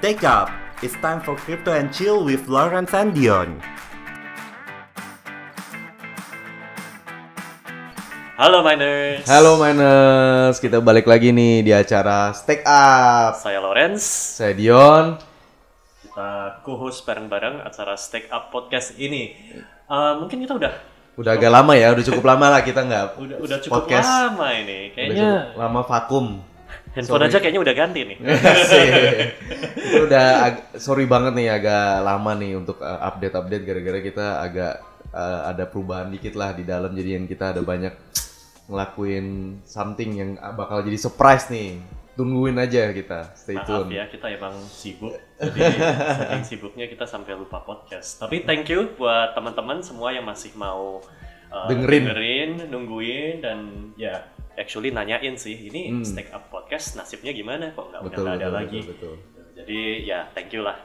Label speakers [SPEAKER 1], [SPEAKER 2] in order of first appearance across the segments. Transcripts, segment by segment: [SPEAKER 1] Stay up! It's time for Crypto and Chill with Lawrence and Dion.
[SPEAKER 2] Halo Miners.
[SPEAKER 3] Halo Miners, kita balik lagi nih di acara Stack Up.
[SPEAKER 2] Saya Lawrence.
[SPEAKER 3] Saya Dion.
[SPEAKER 2] Kita co-host bareng-bareng acara Stack Up Podcast ini. Eh, mungkin kita udah
[SPEAKER 3] Udah agak lama ya, udah cukup lama lah kita nggak
[SPEAKER 2] udah udah cukup
[SPEAKER 3] podcast.
[SPEAKER 2] lama ini.
[SPEAKER 3] Udah
[SPEAKER 2] Kayaknya
[SPEAKER 3] cukup lama vakum.
[SPEAKER 2] handphone
[SPEAKER 3] Sorry. Iya,
[SPEAKER 2] aja kayaknya udah ganti nih.
[SPEAKER 3] Asik. Itu udah ag- sorry banget nih agak lama nih untuk uh, update-update gara-gara kita agak uh, ada perubahan dikit lah di dalam jadian kita ada banyak ngelakuin something yang ah, bakal jadi surprise nih. Tungguin aja kita. Stay
[SPEAKER 2] Maaf
[SPEAKER 3] tune.
[SPEAKER 2] ya, kita emang sibuk. Jadi saking sibuknya kita sampai lupa podcast. Tapi thank you buat teman-teman semua yang masih mau eh,
[SPEAKER 3] Dengerin.
[SPEAKER 2] nungguin dan ya actually nanyain sih ini
[SPEAKER 3] Hmm.
[SPEAKER 2] Stack Up Podcast nasibnya gimana kok nggak udah
[SPEAKER 3] Betul,
[SPEAKER 2] nggak ada
[SPEAKER 3] betul,
[SPEAKER 2] lagi.
[SPEAKER 3] betul, betul.
[SPEAKER 2] Jadi ya thank you lah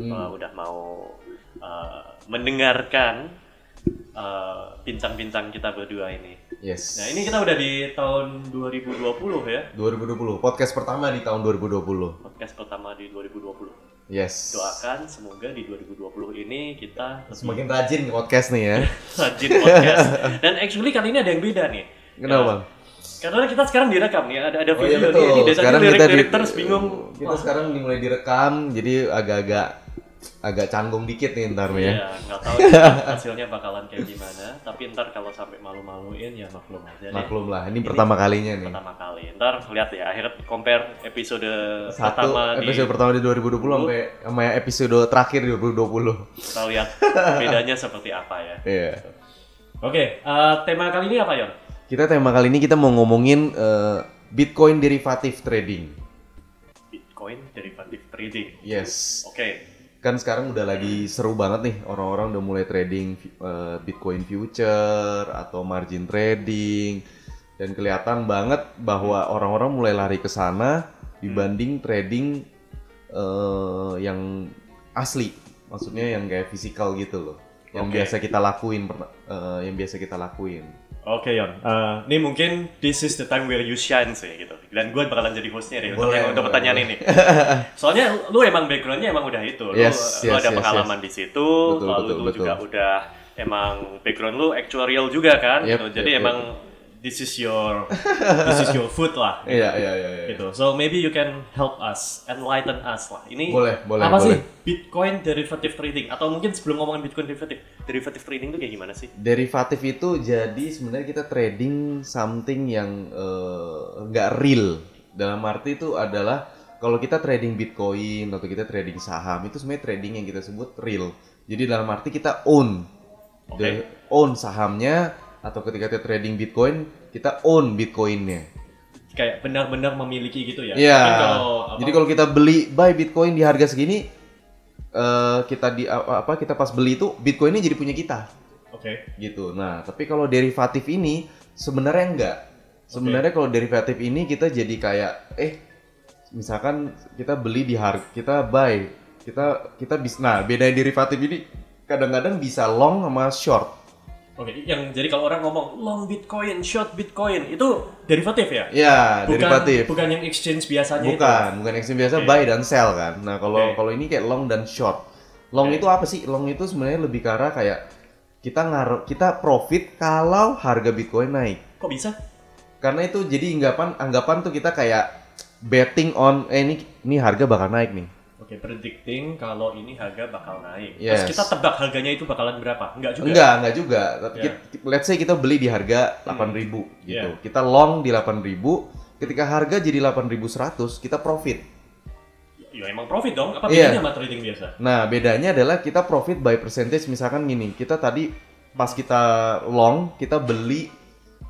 [SPEAKER 3] Hmm.
[SPEAKER 2] uh, udah mau uh, mendengarkan uh, bintang-bintang kita berdua ini.
[SPEAKER 3] Yes.
[SPEAKER 2] Nah ini kita udah di tahun 2020 ya
[SPEAKER 3] 2020 podcast pertama di tahun 2020
[SPEAKER 2] podcast pertama di 2020.
[SPEAKER 3] yes
[SPEAKER 2] Doakan semoga di 2020 ini kita
[SPEAKER 3] semakin rajin podcast nih ya
[SPEAKER 2] rajin podcast. Dan actually kali ini ada yang beda nih.
[SPEAKER 3] kenapa Oh, iya,
[SPEAKER 2] Ya, karena kita sekarang direkam nih ada ada video nih. Ini dari
[SPEAKER 3] sekarang
[SPEAKER 2] lirik-
[SPEAKER 3] kita di,
[SPEAKER 2] lirik terus bingung.
[SPEAKER 3] kita sekarang mulai direkam jadi agak-agak agak canggung dikit nih ntar ya
[SPEAKER 2] Ya, nggak tahu nih hasilnya bakalan kayak gimana. Tapi ntar kalau sampai malu-maluin ya maklum aja deh.
[SPEAKER 3] maklum lah ini, pertama kalinya nih
[SPEAKER 2] pertama kali. Ntar lihat ya, akhirnya compare episode
[SPEAKER 3] satu
[SPEAKER 2] pertama
[SPEAKER 3] episode
[SPEAKER 2] di
[SPEAKER 3] pertama di 2020 sampai sama episode terakhir di 2020
[SPEAKER 2] kita lihat bedanya seperti apa ya.
[SPEAKER 3] Iya.
[SPEAKER 2] Oke, eh, tema kali ini apa Yon?
[SPEAKER 3] kita tema kali ini kita mau ngomongin eh, Bitcoin derivative trading
[SPEAKER 2] Bitcoin derivative trading.
[SPEAKER 3] yes
[SPEAKER 2] Oke,
[SPEAKER 3] kan sekarang udah lagi seru banget nih orang-orang udah mulai trading eh, Bitcoin future atau margin trading dan kelihatan banget bahwa orang-orang mulai lari ke sana dibanding trading eh, yang asli maksudnya yang kayak fisikal gitu loh yang
[SPEAKER 2] Oke.
[SPEAKER 3] biasa kita lakuin perna- eh, yang biasa kita lakuin
[SPEAKER 2] oke Yon. Eh, ini mungkin this is the time where you shine sih gitu. Dan gue bakalan jadi hostnya deh untuk,
[SPEAKER 3] Boleh,
[SPEAKER 2] yang- untuk
[SPEAKER 3] boleh,
[SPEAKER 2] pertanyaan ini. Soalnya lu emang backgroundnya emang udah itu. Lu,
[SPEAKER 3] Yes,
[SPEAKER 2] lu
[SPEAKER 3] yes,
[SPEAKER 2] ada
[SPEAKER 3] yes,
[SPEAKER 2] pengalaman di situ,
[SPEAKER 3] Betul,
[SPEAKER 2] lalu
[SPEAKER 3] betul,
[SPEAKER 2] lu
[SPEAKER 3] betul.
[SPEAKER 2] juga udah emang background lu actuarial juga kan.
[SPEAKER 3] Yep,
[SPEAKER 2] gitu. Jadi
[SPEAKER 3] yep, yep.
[SPEAKER 2] emang this is your this is your food lah.
[SPEAKER 3] iya iya iya iya.
[SPEAKER 2] gitu. So maybe you can help us, enlighten us lah. Ini
[SPEAKER 3] Boleh, boleh,
[SPEAKER 2] apa sih
[SPEAKER 3] boleh.
[SPEAKER 2] Bitcoin derivative trading? Atau mungkin sebelum ngomongin Bitcoin derivative, derivative trading itu kayak gimana sih?
[SPEAKER 3] derivatif itu jadi sebenarnya kita trading something yang eh, nggak real dalam arti itu adalah kalau kita trading bitcoin atau kita trading saham itu sebenarnya trading yang kita sebut real jadi dalam arti kita own The- own sahamnya atau ketika kita trading bitcoin kita own bitcoinnya
[SPEAKER 2] Kayak benar-benar memiliki gitu ya?
[SPEAKER 3] Iya.
[SPEAKER 2] Mungkin kalau apa-
[SPEAKER 3] Jadi kalau kita beli buy Bitcoin di harga segini, eh kita di apa apa, kita pas beli itu Bitcoinnya jadi punya kita.
[SPEAKER 2] Oke.
[SPEAKER 3] gitu. Nah, tapi kalau derivatif ini sebenarnya enggak. Sebenarnya kalau derivatif ini kita jadi kayak eh misalkan kita beli di harga kita buy, kita kita bisa nah bedanya derivatif ini kadang-kadang bisa long sama short.
[SPEAKER 2] Oke, yang jadi kalau orang ngomong long Bitcoin, short Bitcoin, itu derivatif ya?
[SPEAKER 3] Ya,
[SPEAKER 2] Bukan,
[SPEAKER 3] derivatif.
[SPEAKER 2] bukan yang exchange biasanya itu.
[SPEAKER 3] Bukan, bukan exchange biasa
[SPEAKER 2] Oke.
[SPEAKER 3] buy dan sell kan. Nah,
[SPEAKER 2] Oke.
[SPEAKER 3] kalau kalau ini kayak long dan short. Long
[SPEAKER 2] Oke.
[SPEAKER 3] itu apa sih? Long itu sebenarnya lebih ke arah kayak kita ngaruh kita profit kalau harga Bitcoin naik.
[SPEAKER 2] Kok bisa?
[SPEAKER 3] karena itu jadi anggapan anggapan tuh kita kayak betting on eh ini ini harga bakal naik nih
[SPEAKER 2] Oke, predicting kalau ini harga bakal naik.
[SPEAKER 3] Yes.
[SPEAKER 2] Terus kita tebak harganya itu bakalan berapa? Enggak juga.
[SPEAKER 3] enggak enggak juga tapi
[SPEAKER 2] Ya. Hmm.
[SPEAKER 3] kita- let's say kita beli di harga 8000 gitu kita long di 8000 ketika harga jadi 8100 kita profit
[SPEAKER 2] Ya emang profit dong. Apa
[SPEAKER 3] Iya.
[SPEAKER 2] bedanya sama trading biasa?
[SPEAKER 3] nah bedanya adalah kita profit by percentage misalkan gini kita tadi pas kita long kita beli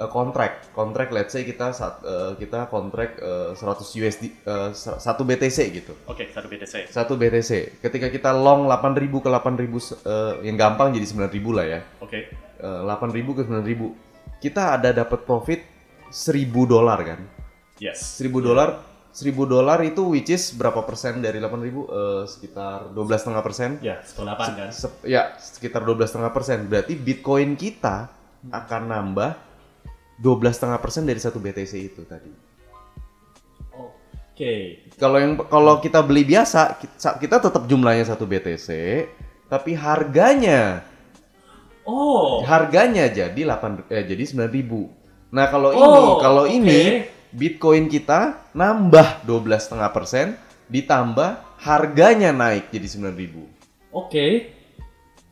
[SPEAKER 3] eh, kontrak kontrak let's say kita sat- eh, kita kontrak eh, 100 USD eh, 1 BTC gitu
[SPEAKER 2] Oke, satu BTC.
[SPEAKER 3] satu BTC. Ketika kita long 8.000 ke 8.000 se- eh, yang gampang jadi 9.000 lah ya.
[SPEAKER 2] Oke.
[SPEAKER 3] Eh, 8.000 ke 9.000. Kita ada dapat profit 1.000 dolar kan.
[SPEAKER 2] Yes.
[SPEAKER 3] 1.000 dolar 1.000 dolar itu which is berapa persen dari 8.000 eh, sekitar 12,5 persen.
[SPEAKER 2] Ya, setelah delapan kan.
[SPEAKER 3] Sep- ya, sekitar 12,5 persen. Berarti Bitcoin kita
[SPEAKER 2] Hmm.
[SPEAKER 3] akan nambah 12,5 persen dari satu BTC itu tadi.
[SPEAKER 2] Oke.
[SPEAKER 3] Kalau yang kalau kita beli biasa, kita, kita tetap jumlahnya satu BTC, tapi harganya
[SPEAKER 2] Oh.
[SPEAKER 3] harganya jadi 8 eh, jadi 9000. Nah, kalau
[SPEAKER 2] Oh,
[SPEAKER 3] ini kalau ini
[SPEAKER 2] oke.
[SPEAKER 3] Bitcoin kita nambah 12,5% ditambah harganya naik jadi 9000.
[SPEAKER 2] Oke.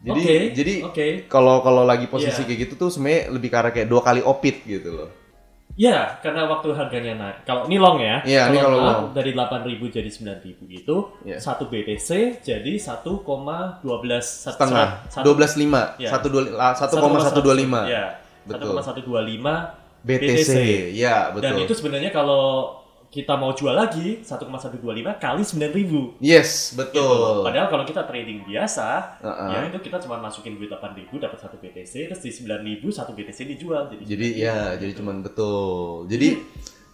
[SPEAKER 3] Jadi
[SPEAKER 2] Oke,
[SPEAKER 3] jadi
[SPEAKER 2] oke.
[SPEAKER 3] kalau kalau lagi posisi
[SPEAKER 2] Iya.
[SPEAKER 3] kayak gitu tuh sebenarnya lebih ke arah kayak dua kali opit gitu loh.
[SPEAKER 2] Ya, karena waktu harganya naik. Kalau ini long ya.
[SPEAKER 3] Iya, ini kalau
[SPEAKER 2] up
[SPEAKER 3] long.
[SPEAKER 2] dari 8.000 jadi gitu, 9.000 itu
[SPEAKER 3] Iya.
[SPEAKER 2] 1 BTC jadi 1,12 sat-
[SPEAKER 3] Setengah
[SPEAKER 2] sat-
[SPEAKER 3] 12,5
[SPEAKER 2] Iya.
[SPEAKER 3] ah, 1,125
[SPEAKER 2] Ya.
[SPEAKER 3] Betul.
[SPEAKER 2] 1,125
[SPEAKER 3] BTC. Ya,
[SPEAKER 2] Dan
[SPEAKER 3] betul.
[SPEAKER 2] itu sebenarnya kalau kita mau jual lagi 1,125 kali 9.000. Gitu.
[SPEAKER 3] Yes, betul.
[SPEAKER 2] Padahal kalau kita trading biasa,
[SPEAKER 3] Heeh.
[SPEAKER 2] ya itu kita cuma masukin duit 8.000 dapat 1 BTC, terus di 9.000 1 BTC dijual. Jadi,
[SPEAKER 3] Jadi
[SPEAKER 2] 9.000.
[SPEAKER 3] ya, jadi cuman betul. Jadi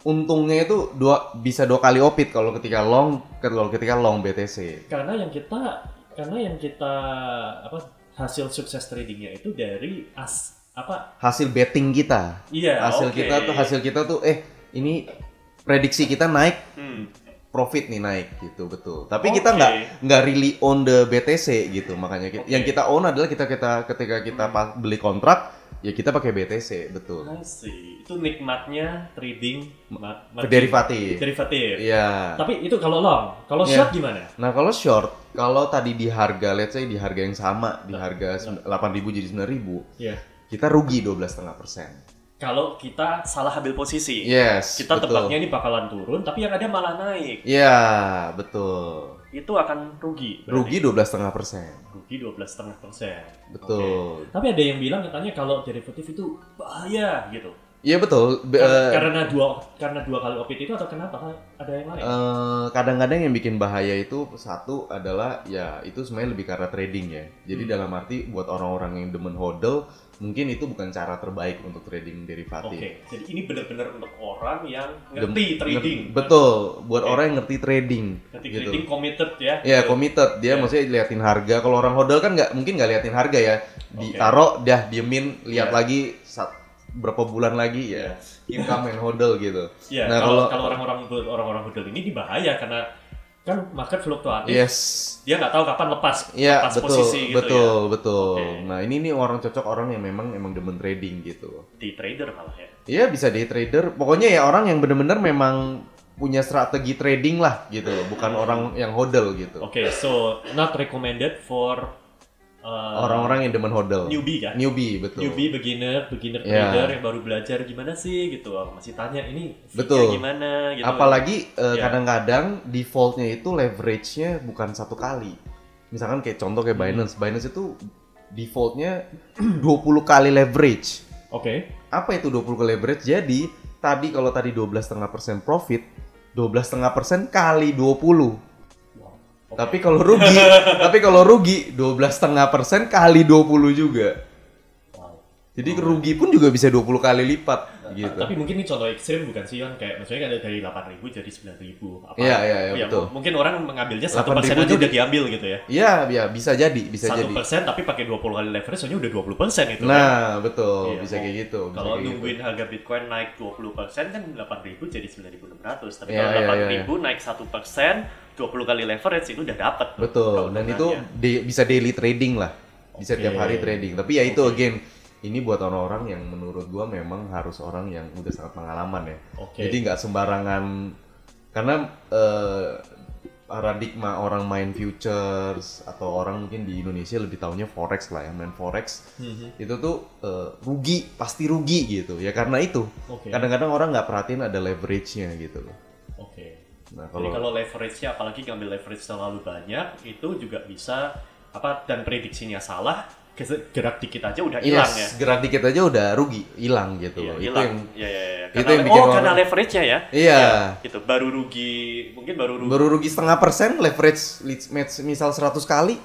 [SPEAKER 3] untungnya itu dua bisa dua kali opit kalau ketika long kalau ketika long BTC.
[SPEAKER 2] karena yang kita karena yang kita apa hasil sukses tradingnya itu dari as apa
[SPEAKER 3] Hasil betting kita.
[SPEAKER 2] iya
[SPEAKER 3] Hasil
[SPEAKER 2] oke.
[SPEAKER 3] kita tuh hasil kita tuh eh ini prediksi kita naik
[SPEAKER 2] Hmm,
[SPEAKER 3] profit nih naik gitu betul. Tapi
[SPEAKER 2] Oke.
[SPEAKER 3] kita nggak nggak really own the BTC gitu makanya kita-
[SPEAKER 2] Oke.
[SPEAKER 3] yang kita own adalah kita kita ketika kita pas- beli kontrak ya kita pakai BTC betul.
[SPEAKER 2] I see. Nah, itu nikmatnya trading ma- ma-
[SPEAKER 3] Derivatif.
[SPEAKER 2] derivatif
[SPEAKER 3] Iya.
[SPEAKER 2] tapi itu kalau long kalau
[SPEAKER 3] Iya.
[SPEAKER 2] short gimana
[SPEAKER 3] Nah kalau short, kalau tadi di harga, let's say di harga yang sama,
[SPEAKER 2] Nah,
[SPEAKER 3] di harga sem- 8.000 jadi 9.000,
[SPEAKER 2] ya
[SPEAKER 3] kita rugi 12,5 persen.
[SPEAKER 2] kalau kita salah ambil posisi
[SPEAKER 3] Yes,
[SPEAKER 2] kita
[SPEAKER 3] betul.
[SPEAKER 2] tebaknya ini bakalan turun tapi yang ada malah naik
[SPEAKER 3] Iya, betul.
[SPEAKER 2] itu akan rugi
[SPEAKER 3] Rugi 12,5 persen.
[SPEAKER 2] rugi dua belas setengah persen
[SPEAKER 3] Betul.
[SPEAKER 2] tapi ada yang bilang katanya kalau derivatif itu bahaya gitu
[SPEAKER 3] Iya betul. Be-
[SPEAKER 2] Kar-
[SPEAKER 3] eh,
[SPEAKER 2] karena dua karena dua kali opit itu atau kenapa Kan ada yang lain?
[SPEAKER 3] eh, kadang-kadang yang bikin bahaya itu satu adalah ya itu sebenarnya lebih karena trading ya. Jadi
[SPEAKER 2] Hmm.
[SPEAKER 3] dalam arti buat orang-orang yang demen hodl mungkin itu bukan cara terbaik untuk
[SPEAKER 2] Oke,
[SPEAKER 3] trading derivatif.
[SPEAKER 2] jadi ini benar-benar untuk orang yang
[SPEAKER 3] Dem-
[SPEAKER 2] ngerti trading.
[SPEAKER 3] Betul, buat
[SPEAKER 2] Oke.
[SPEAKER 3] orang yang ngerti trading.
[SPEAKER 2] Ngerti
[SPEAKER 3] gitu.
[SPEAKER 2] trading committed ya.
[SPEAKER 3] Ya committed
[SPEAKER 2] Ya.
[SPEAKER 3] dia maksudnya liatin harga. Kalau orang hodl kan nggak mungkin nggak liatin harga ya. Ditaro dah diemin lihat
[SPEAKER 2] Ya.
[SPEAKER 3] lagi sat- berapa bulan lagi ya. Keep calm and hodl gitu.
[SPEAKER 2] Ya,
[SPEAKER 3] Nah,
[SPEAKER 2] Iya. kalau
[SPEAKER 3] kalau-
[SPEAKER 2] kalau orang-orang orang-orang hotel ini dibahaya karena kan market fluktuatif.
[SPEAKER 3] Yes.
[SPEAKER 2] Dia nggak tahu kapan lepas
[SPEAKER 3] Iya
[SPEAKER 2] lepas
[SPEAKER 3] betul
[SPEAKER 2] posisi gitu ya.
[SPEAKER 3] betul betul.
[SPEAKER 2] Oke.
[SPEAKER 3] Nah ini nih orang cocok orang yang memang emang demen trading gitu.
[SPEAKER 2] Di trader malah ya.
[SPEAKER 3] Iya bisa day trader. Pokoknya ya orang yang bener-bener memang punya strategi trading lah gitu. Bukan
[SPEAKER 2] Iya.
[SPEAKER 3] orang yang hodl gitu.
[SPEAKER 2] Oke, so not recommended for uh,
[SPEAKER 3] Orang-orang yang demen hodl.
[SPEAKER 2] newbie kan?
[SPEAKER 3] Newbie betul.
[SPEAKER 2] newbie beginner beginner
[SPEAKER 3] Ya.
[SPEAKER 2] trader yang baru belajar gimana sih gitu masih tanya ini fee-nya
[SPEAKER 3] Betul.
[SPEAKER 2] gimana gitu
[SPEAKER 3] Apalagi eh,
[SPEAKER 2] Iya.
[SPEAKER 3] kadang-kadang defaultnya itu leverage-nya bukan satu kali. Misalkan kayak contoh kayak
[SPEAKER 2] Hmm.
[SPEAKER 3] Binance, Binance itu defaultnya 20 kali leverage.
[SPEAKER 2] oke
[SPEAKER 3] Apa itu 20 kali leverage? Jadi tadi kalau tadi 12,5% profit, 12,5% kali 20.
[SPEAKER 2] Wow. Oke.
[SPEAKER 3] Tapi kalau rugi, tapi kalau rugi 12,5% kali 20 juga.
[SPEAKER 2] Wow. Nah,
[SPEAKER 3] Jadi rugi pun juga bisa 20 kali lipat gitu.
[SPEAKER 2] tapi mungkin ini contoh ekstrim bukan sih Yon kayak maksudnya ada dari 8.000 jadi 9.000 apa
[SPEAKER 3] Iya, iya, iya,
[SPEAKER 2] ya,
[SPEAKER 3] betul.
[SPEAKER 2] mu- mungkin orang mengambilnya satu
[SPEAKER 3] 8.000
[SPEAKER 2] persen aja
[SPEAKER 3] jadi-
[SPEAKER 2] udah diambil gitu ya
[SPEAKER 3] Iya, ya bisa jadi, bisa
[SPEAKER 2] satu
[SPEAKER 3] jadi.
[SPEAKER 2] persen tapi pakai 20 kali leverage soalnya udah 20 persen itu kan.
[SPEAKER 3] Nah, betul,
[SPEAKER 2] Iya.
[SPEAKER 3] bisa kayak gitu. bisa
[SPEAKER 2] kalau
[SPEAKER 3] kayak gitu.
[SPEAKER 2] nungguin harga bitcoin naik 20 persen kan 8.000 jadi 9.600 tapi
[SPEAKER 3] Iya,
[SPEAKER 2] kalau
[SPEAKER 3] iya, iya,
[SPEAKER 2] 8.000 naik satu persen 20 kali leverage itu udah dapat
[SPEAKER 3] Betul, dan itu da- bisa daily trading lah. Bisa
[SPEAKER 2] Oke.
[SPEAKER 3] tiap hari trading. Tapi ya itu
[SPEAKER 2] Oke.
[SPEAKER 3] again, ini buat orang-orang yang menurut gua memang harus orang yang udah sangat pengalaman ya.
[SPEAKER 2] Oke.
[SPEAKER 3] Jadi nggak sembarangan karena eh, paradigma orang main futures atau orang mungkin di Indonesia lebih taunya forex lah ya, main forex.
[SPEAKER 2] Mhm.
[SPEAKER 3] Itu tuh eh, rugi, pasti rugi gitu. Ya karena itu.
[SPEAKER 2] Oke.
[SPEAKER 3] Kadang-kadang orang nggak perhatiin ada leverage-nya gitu loh.
[SPEAKER 2] oke
[SPEAKER 3] Nah,
[SPEAKER 2] Jadi kalau leverage-nya apalagi ngambil leverage terlalu banyak itu juga bisa apa dan prediksinya salah ge- gerak dikit aja udah hilang ya.
[SPEAKER 3] yes, gerak dikit aja udah rugi, hilang gitu.
[SPEAKER 2] Iya,
[SPEAKER 3] Iya, loh. itu
[SPEAKER 2] hilang.
[SPEAKER 3] yang
[SPEAKER 2] Iya, iya, iya.
[SPEAKER 3] itu
[SPEAKER 2] Karena-
[SPEAKER 3] yang bikin
[SPEAKER 2] oh, karena
[SPEAKER 3] orang-
[SPEAKER 2] leverage-nya ya.
[SPEAKER 3] Iya.
[SPEAKER 2] Gitu, baru rugi, mungkin baru rugi.
[SPEAKER 3] baru rugi setengah persen, leverage leads match misal 100 kali,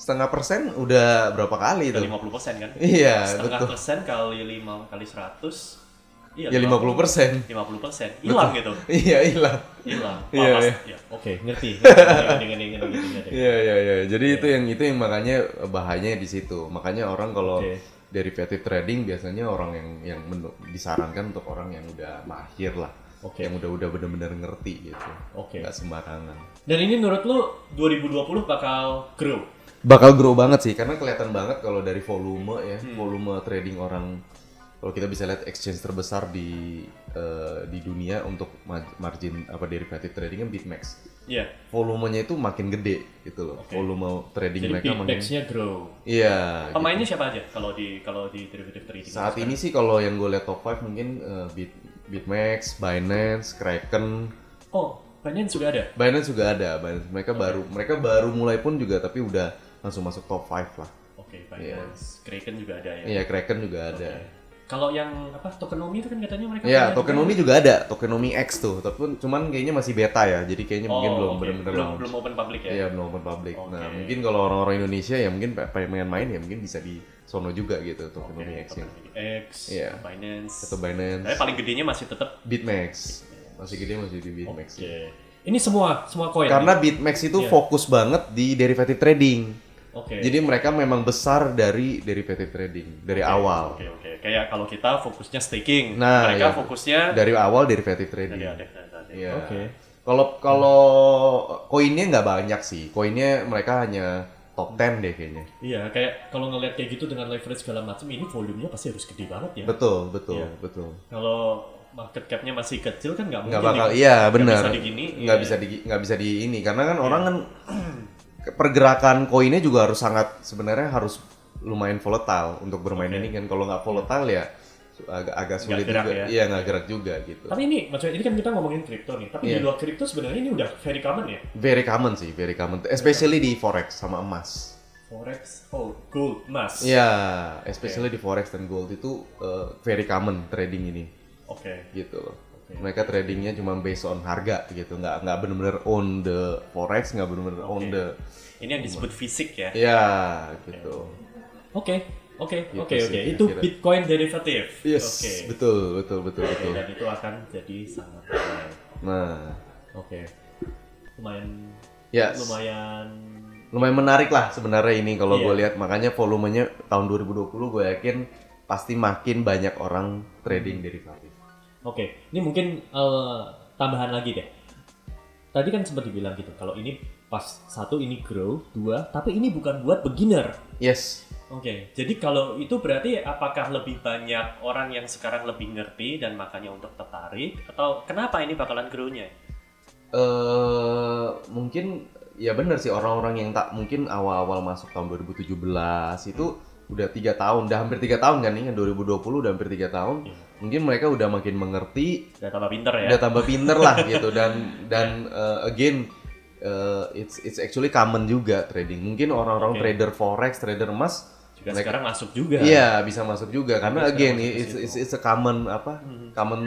[SPEAKER 3] setengah persen udah berapa kali itu?
[SPEAKER 2] ke 50% kan?
[SPEAKER 3] gitu. Iya,
[SPEAKER 2] Setengah
[SPEAKER 3] betul.
[SPEAKER 2] persen kali 5 kali 100 Iya,
[SPEAKER 3] Ya 50 persen.
[SPEAKER 2] 50% hilang gitu.
[SPEAKER 3] Iya hilang.
[SPEAKER 2] Hilang. Wah,
[SPEAKER 3] Iya,
[SPEAKER 2] pasti-
[SPEAKER 3] iya.
[SPEAKER 2] iya. Oke, ngerti. Ngerti, ngerti, ngerti, ngerti, ngerti.
[SPEAKER 3] Iya iya iya. Jadi itu yang itu yang makanya eh, bahayanya di situ. Makanya orang kalau
[SPEAKER 2] Oke.
[SPEAKER 3] derivative trading biasanya orang yang yang menu- disarankan untuk orang yang udah mahir lah.
[SPEAKER 2] Oke.
[SPEAKER 3] yang udah-udah bener-bener ngerti gitu.
[SPEAKER 2] Oke.
[SPEAKER 3] Nggak sembarangan.
[SPEAKER 2] Dan ini menurut lu 2020 bakal grow.
[SPEAKER 3] Bakal grow banget sih karena kelihatan banget kalau dari volume ya,
[SPEAKER 2] Hmm.
[SPEAKER 3] volume trading orang kalau kita bisa lihat exchange terbesar di eh, di dunia untuk ma- margin apa derivative trading kan Bitmax.
[SPEAKER 2] Iya.
[SPEAKER 3] Volumenya itu makin gede gitu loh.
[SPEAKER 2] Oke.
[SPEAKER 3] Volume trading
[SPEAKER 2] Jadi Oh,
[SPEAKER 3] mereka makin
[SPEAKER 2] bitmax-nya grow.
[SPEAKER 3] Iya. gitu.
[SPEAKER 2] Pemainnya siapa aja kalau di kalau di derivative trading?
[SPEAKER 3] Saat ini sih kalau yang gue lihat top 5 mungkin eh, Bit, Bitmax, Binance, Kraken.
[SPEAKER 2] Oh, Binance juga ada.
[SPEAKER 3] Binance juga ada, Binance. Mereka baru mereka baru mulai pun juga tapi udah langsung masuk top 5 lah.
[SPEAKER 2] Oke, Binance, Kraken juga ada ya.
[SPEAKER 3] Iya, Kraken juga ada.
[SPEAKER 2] Oke. Kalau yang apa tokenomi itu kan katanya mereka punya
[SPEAKER 3] Iya, Tokenomics juga ada, Tokenomics X tuh, tapi cuman kayaknya masih beta ya. Jadi kayaknya
[SPEAKER 2] juga.
[SPEAKER 3] mungkin
[SPEAKER 2] Oh,
[SPEAKER 3] belum
[SPEAKER 2] oke.
[SPEAKER 3] benar-benar
[SPEAKER 2] belum,
[SPEAKER 3] launch.
[SPEAKER 2] belum open public ya.
[SPEAKER 3] Iya, belum open public. Nah,
[SPEAKER 2] Oke.
[SPEAKER 3] mungkin kalau orang-orang Indonesia ya mungkin pe- pengen main ya mungkin bisa di sono juga
[SPEAKER 2] Oke,
[SPEAKER 3] gitu Tokenomics X-nya.
[SPEAKER 2] Tokenomics X,
[SPEAKER 3] Iya.
[SPEAKER 2] Binance.
[SPEAKER 3] Atau Binance,
[SPEAKER 2] Tapi paling gedenya masih tetap
[SPEAKER 3] Bitmax. Masih gede masih di Bitmax.
[SPEAKER 2] Oke. Ini semua semua koin.
[SPEAKER 3] Karena
[SPEAKER 2] nih?
[SPEAKER 3] Bitmax itu
[SPEAKER 2] Iya.
[SPEAKER 3] fokus banget di derivative trading.
[SPEAKER 2] Oke.
[SPEAKER 3] Jadi mereka memang besar dari derivative trading dari
[SPEAKER 2] Oke,
[SPEAKER 3] awal.
[SPEAKER 2] Oke, oke. Kayak kalau kita fokusnya staking,
[SPEAKER 3] Nah,
[SPEAKER 2] mereka
[SPEAKER 3] iya.
[SPEAKER 2] fokusnya
[SPEAKER 3] Dari awal derivative trading.
[SPEAKER 2] dari ada ada-
[SPEAKER 3] Iya.
[SPEAKER 2] Oke.
[SPEAKER 3] Kalau kalau koinnya nggak banyak sih. Koinnya mereka hanya top 10 deh kayaknya.
[SPEAKER 2] Iya, kayak kalau ngelihat kayak gitu dengan leverage segala macam, ini volumenya pasti harus gede banget ya.
[SPEAKER 3] Betul, betul,
[SPEAKER 2] Iya.
[SPEAKER 3] betul.
[SPEAKER 2] Kalau market capnya masih kecil kan nggak mungkin.
[SPEAKER 3] Nggak bakal
[SPEAKER 2] di-
[SPEAKER 3] iya
[SPEAKER 2] nggak
[SPEAKER 3] benar.
[SPEAKER 2] Bisa digini.
[SPEAKER 3] Nggak
[SPEAKER 2] iya.
[SPEAKER 3] bisa di nggak bisa di ini karena kan orang kan pergerakan koinnya juga harus sangat sebenarnya harus lumayan volatile untuk bermain ini kan kalau nggak volatile ya su- agak agak sulit
[SPEAKER 2] gerak
[SPEAKER 3] juga.
[SPEAKER 2] ya.
[SPEAKER 3] Iya nggak gerak juga gitu.
[SPEAKER 2] Tapi ini maksudnya ini kan kita ngomongin kripto nih, tapi di
[SPEAKER 3] Iya.
[SPEAKER 2] luar kripto sebenarnya ini udah very common ya.
[SPEAKER 3] Very common sih, very common. Especially di forex sama emas.
[SPEAKER 2] Forex, oh, gold, emas.
[SPEAKER 3] Iya, especially di forex dan gold itu uh, very common trading ini
[SPEAKER 2] Oke.
[SPEAKER 3] gitu loh.
[SPEAKER 2] Oke.
[SPEAKER 3] Mereka tradingnya cuma based on harga gitu, nggak nggak benar-benar on the forex, nggak benar-benar on
[SPEAKER 2] Oke.
[SPEAKER 3] the
[SPEAKER 2] Ini yang disebut fisik ya.
[SPEAKER 3] ya gitu.
[SPEAKER 2] Oke, oke,
[SPEAKER 3] Gitu
[SPEAKER 2] oke,
[SPEAKER 3] sih,
[SPEAKER 2] oke. Itu
[SPEAKER 3] kira-kira.
[SPEAKER 2] Bitcoin derivative.
[SPEAKER 3] Yes,
[SPEAKER 2] Oke.
[SPEAKER 3] betul, betul, betul,
[SPEAKER 2] Oke,
[SPEAKER 3] betul.
[SPEAKER 2] dan itu akan jadi sangat ramai.
[SPEAKER 3] Nah,
[SPEAKER 2] Oke. Lumayan
[SPEAKER 3] ya
[SPEAKER 2] lumayan
[SPEAKER 3] lumayan menarik lah sebenarnya ini kalau
[SPEAKER 2] Iya.
[SPEAKER 3] gue lihat makanya volumenya tahun 2020 gue yakin pasti makin banyak
[SPEAKER 2] Hmm.
[SPEAKER 3] orang trading derivatif.
[SPEAKER 2] Oke, ini mungkin eh, tambahan lagi deh. Tadi kan sempat dibilang gitu, kalau ini pas satu ini grow, dua, tapi ini bukan buat beginner.
[SPEAKER 3] Yes,
[SPEAKER 2] Oke, jadi kalau itu berarti apakah lebih banyak orang yang sekarang lebih ngerti dan makanya untuk tertarik atau kenapa ini bakalan grow-nya?
[SPEAKER 3] eh mungkin ya bener sih orang-orang yang tak mungkin awal-awal masuk tahun 2017 itu
[SPEAKER 2] Hmm.
[SPEAKER 3] udah tiga tahun, udah hampir tiga tahun kan nih, yang 2020 udah hampir tiga tahun.
[SPEAKER 2] Iya.
[SPEAKER 3] Mungkin mereka udah makin mengerti
[SPEAKER 2] Udah tambah pinter ya?
[SPEAKER 3] udah tambah pinter lah gitu dan dan
[SPEAKER 2] Iya.
[SPEAKER 3] uh, again uh, it's it's actually common juga trading mungkin orang-orang
[SPEAKER 2] Oke.
[SPEAKER 3] trader forex trader emas
[SPEAKER 2] Juga
[SPEAKER 3] mereka-
[SPEAKER 2] sekarang masuk juga.
[SPEAKER 3] iya bisa masuk juga karena
[SPEAKER 2] Mereka
[SPEAKER 3] again
[SPEAKER 2] sekarang masuk ke
[SPEAKER 3] it's,
[SPEAKER 2] situ.
[SPEAKER 3] it's it's a common apa
[SPEAKER 2] Mhm.
[SPEAKER 3] common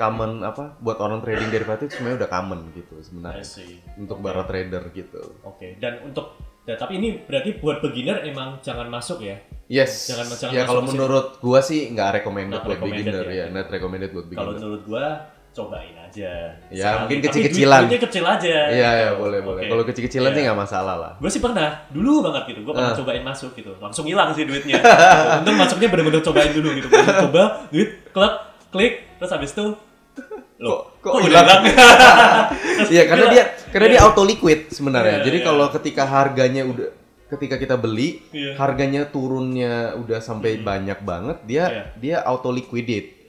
[SPEAKER 3] common apa buat orang trading derivatif sebenarnya udah common gitu
[SPEAKER 2] I
[SPEAKER 3] sebenarnya
[SPEAKER 2] see.
[SPEAKER 3] untuk para trader gitu
[SPEAKER 2] Oke, dan untuk ya, tapi ini berarti buat beginner emang jangan masuk ya.
[SPEAKER 3] yes
[SPEAKER 2] Jangan- jangan
[SPEAKER 3] ya
[SPEAKER 2] masuk
[SPEAKER 3] kalau
[SPEAKER 2] ke situ.
[SPEAKER 3] menurut gua sih nggak recommended
[SPEAKER 2] Not
[SPEAKER 3] buat
[SPEAKER 2] recommended
[SPEAKER 3] beginner
[SPEAKER 2] ya.
[SPEAKER 3] ya not recommended buat
[SPEAKER 2] Kalau
[SPEAKER 3] beginner
[SPEAKER 2] menurut gua cobain aja.
[SPEAKER 3] Ya, mungkin
[SPEAKER 2] Tapi
[SPEAKER 3] kecil-kecilan.
[SPEAKER 2] duit- Duitnya kecil aja.
[SPEAKER 3] iya ya boleh
[SPEAKER 2] Oke.
[SPEAKER 3] boleh kalau kecil-kecilan
[SPEAKER 2] Iya.
[SPEAKER 3] sih nggak masalah lah
[SPEAKER 2] Gue sih pernah, dulu banget gitu, gue pernah
[SPEAKER 3] Ah.
[SPEAKER 2] cobain masuk gitu, langsung hilang sih duitnya. Untung masuknya bener-bener cobain dulu gitu, Bener-bener coba, duit, klik, klik, terus habis itu, loh,
[SPEAKER 3] Kok- kok
[SPEAKER 2] kok, udah
[SPEAKER 3] hilang?
[SPEAKER 2] hilang? Terus
[SPEAKER 3] Iya karena
[SPEAKER 2] gila.
[SPEAKER 3] dia karena dia
[SPEAKER 2] Iya.
[SPEAKER 3] auto liquid sebenarnya.
[SPEAKER 2] Iya,
[SPEAKER 3] Jadi
[SPEAKER 2] iya.
[SPEAKER 3] kalau ketika harganya udah ketika kita beli,
[SPEAKER 2] Iya.
[SPEAKER 3] harganya turunnya udah sampai banyak banget, dia
[SPEAKER 2] Iya.
[SPEAKER 3] dia auto liquidate.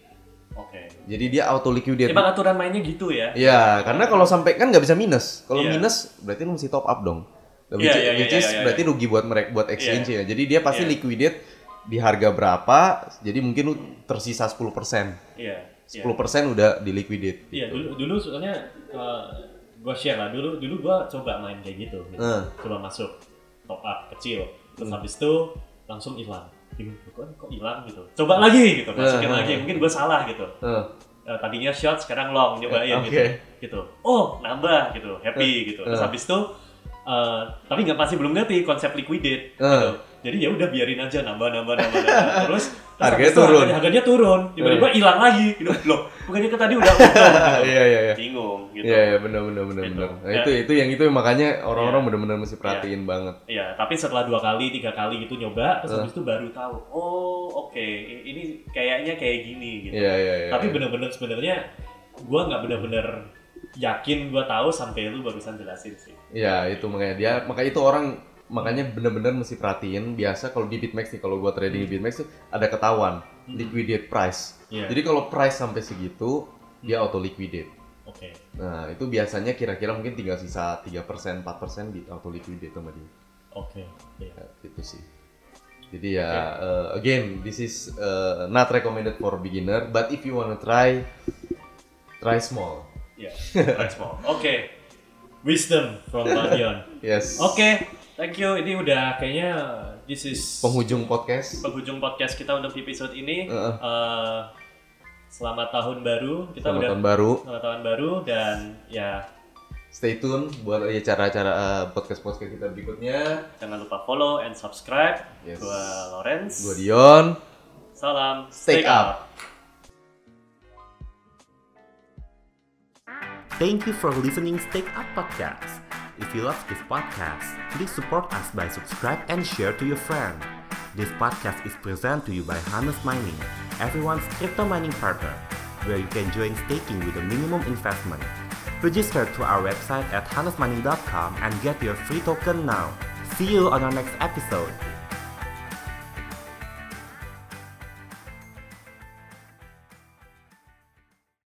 [SPEAKER 2] Oke,
[SPEAKER 3] Jadi dia auto liquidate.
[SPEAKER 2] emang aturan mainnya gitu ya?
[SPEAKER 3] Iya, karena kalau sampai kan nggak bisa minus. Kalau
[SPEAKER 2] Iya.
[SPEAKER 3] minus berarti lu mesti top up dong. Which,
[SPEAKER 2] Iya, iya, iya,
[SPEAKER 3] which is
[SPEAKER 2] iya, iya,
[SPEAKER 3] berarti rugi buat mereka buat exchange ya. Jadi dia pasti
[SPEAKER 2] Iya.
[SPEAKER 3] liquidate di harga berapa, jadi mungkin lu tersisa 10%.
[SPEAKER 2] Iya,
[SPEAKER 3] 10%
[SPEAKER 2] iya.
[SPEAKER 3] udah di liquidate.
[SPEAKER 2] Iya dulu dulu soalnya uh, gua share lah dulu dulu gua coba main kayak gitu, gitu.
[SPEAKER 3] Hmm.
[SPEAKER 2] coba masuk top up kecil terus habis itu langsung hilang Bingung, kok kok hilang gitu coba lagi gitu masukin
[SPEAKER 3] Hmm.
[SPEAKER 2] lagi mungkin gua salah gitu
[SPEAKER 3] Eh,
[SPEAKER 2] Eh, tadinya short sekarang long nyobain
[SPEAKER 3] Eh,
[SPEAKER 2] gitu
[SPEAKER 3] oke.
[SPEAKER 2] gitu oh nambah gitu happy gitu terus
[SPEAKER 3] eh.
[SPEAKER 2] habis itu eh, tapi nggak masih belum ngerti konsep liquidate
[SPEAKER 3] Eh.
[SPEAKER 2] gitu. jadi ya udah biarin aja nambah nambah nambah, nambah. terus terus
[SPEAKER 3] Harganya
[SPEAKER 2] habis itu
[SPEAKER 3] turun. Eh.
[SPEAKER 2] harganya, harganya turun tiba-tiba hilang lagi gitu loh bukannya ke tadi udah untung,
[SPEAKER 3] ah,
[SPEAKER 2] gitu
[SPEAKER 3] Iya iya iya.
[SPEAKER 2] bingung gitu.
[SPEAKER 3] Iya, iya benar benar benar
[SPEAKER 2] Gitu. Iya.
[SPEAKER 3] benar. Nah,
[SPEAKER 2] Ya.
[SPEAKER 3] itu itu yang itu yang makanya orang-orang benar-benar mesti perhatiin banget.
[SPEAKER 2] Ya, tapi setelah dua kali, tiga kali gitu nyoba,
[SPEAKER 3] Eh.
[SPEAKER 2] terus habis itu baru tahu, oh oke, i- ini kayaknya kayak gini gitu.
[SPEAKER 3] Iya iya iya.
[SPEAKER 2] Tapi bener-bener sebenarnya gua nggak bener-bener yakin gua tahu sampai lu barusan jelasin sih.
[SPEAKER 3] Ya itu makanya dia makanya itu orang makanya bener-bener mesti perhatiin biasa kalau di Bitmax nih kalau gua trading di Bitmax tuh ada ketahuan
[SPEAKER 2] Hmm.
[SPEAKER 3] liquidate price.
[SPEAKER 2] Iya.
[SPEAKER 3] Jadi kalau price sampai segitu dia auto liquidate.
[SPEAKER 2] Oke.
[SPEAKER 3] Nah, itu biasanya kira-kira mungkin tinggal sisa 3%, 4% di auto liquidate sama dia.
[SPEAKER 2] Oke. Iya.
[SPEAKER 3] Ya, itu sih. Jadi ya uh, again this is uh, not recommended for beginner but if you wanna try try small.
[SPEAKER 2] Iya. Thanks, Paul. Oke. Wisdom from Badion.
[SPEAKER 3] Yes.
[SPEAKER 2] Oke, thank you. Ini udah kayaknya this is
[SPEAKER 3] Penghujung podcast.
[SPEAKER 2] penghujung podcast kita untuk episode ini.
[SPEAKER 3] Heeh.
[SPEAKER 2] Eh, selamat tahun baru. Kita
[SPEAKER 3] Selamat
[SPEAKER 2] udah
[SPEAKER 3] tahun baru.
[SPEAKER 2] selamat tahun baru dan ya
[SPEAKER 3] Stay tune buat acara-acara eh, podcast-podcast kita berikutnya.
[SPEAKER 2] jangan lupa follow and subscribe.
[SPEAKER 3] Yes.
[SPEAKER 2] Gua Lawrence.
[SPEAKER 3] Gue Dion.
[SPEAKER 2] Salam.
[SPEAKER 3] Stay up.
[SPEAKER 1] Thank you for listening Stake Up Podcast. If you love this podcast, please support us by subscribe and share to your friend. This podcast is presented to you by Hannes Mining, everyone's crypto mining partner, where you can join staking with a minimum investment. Register to our website at hannesmining.com and get your free token now. See you on our next episode.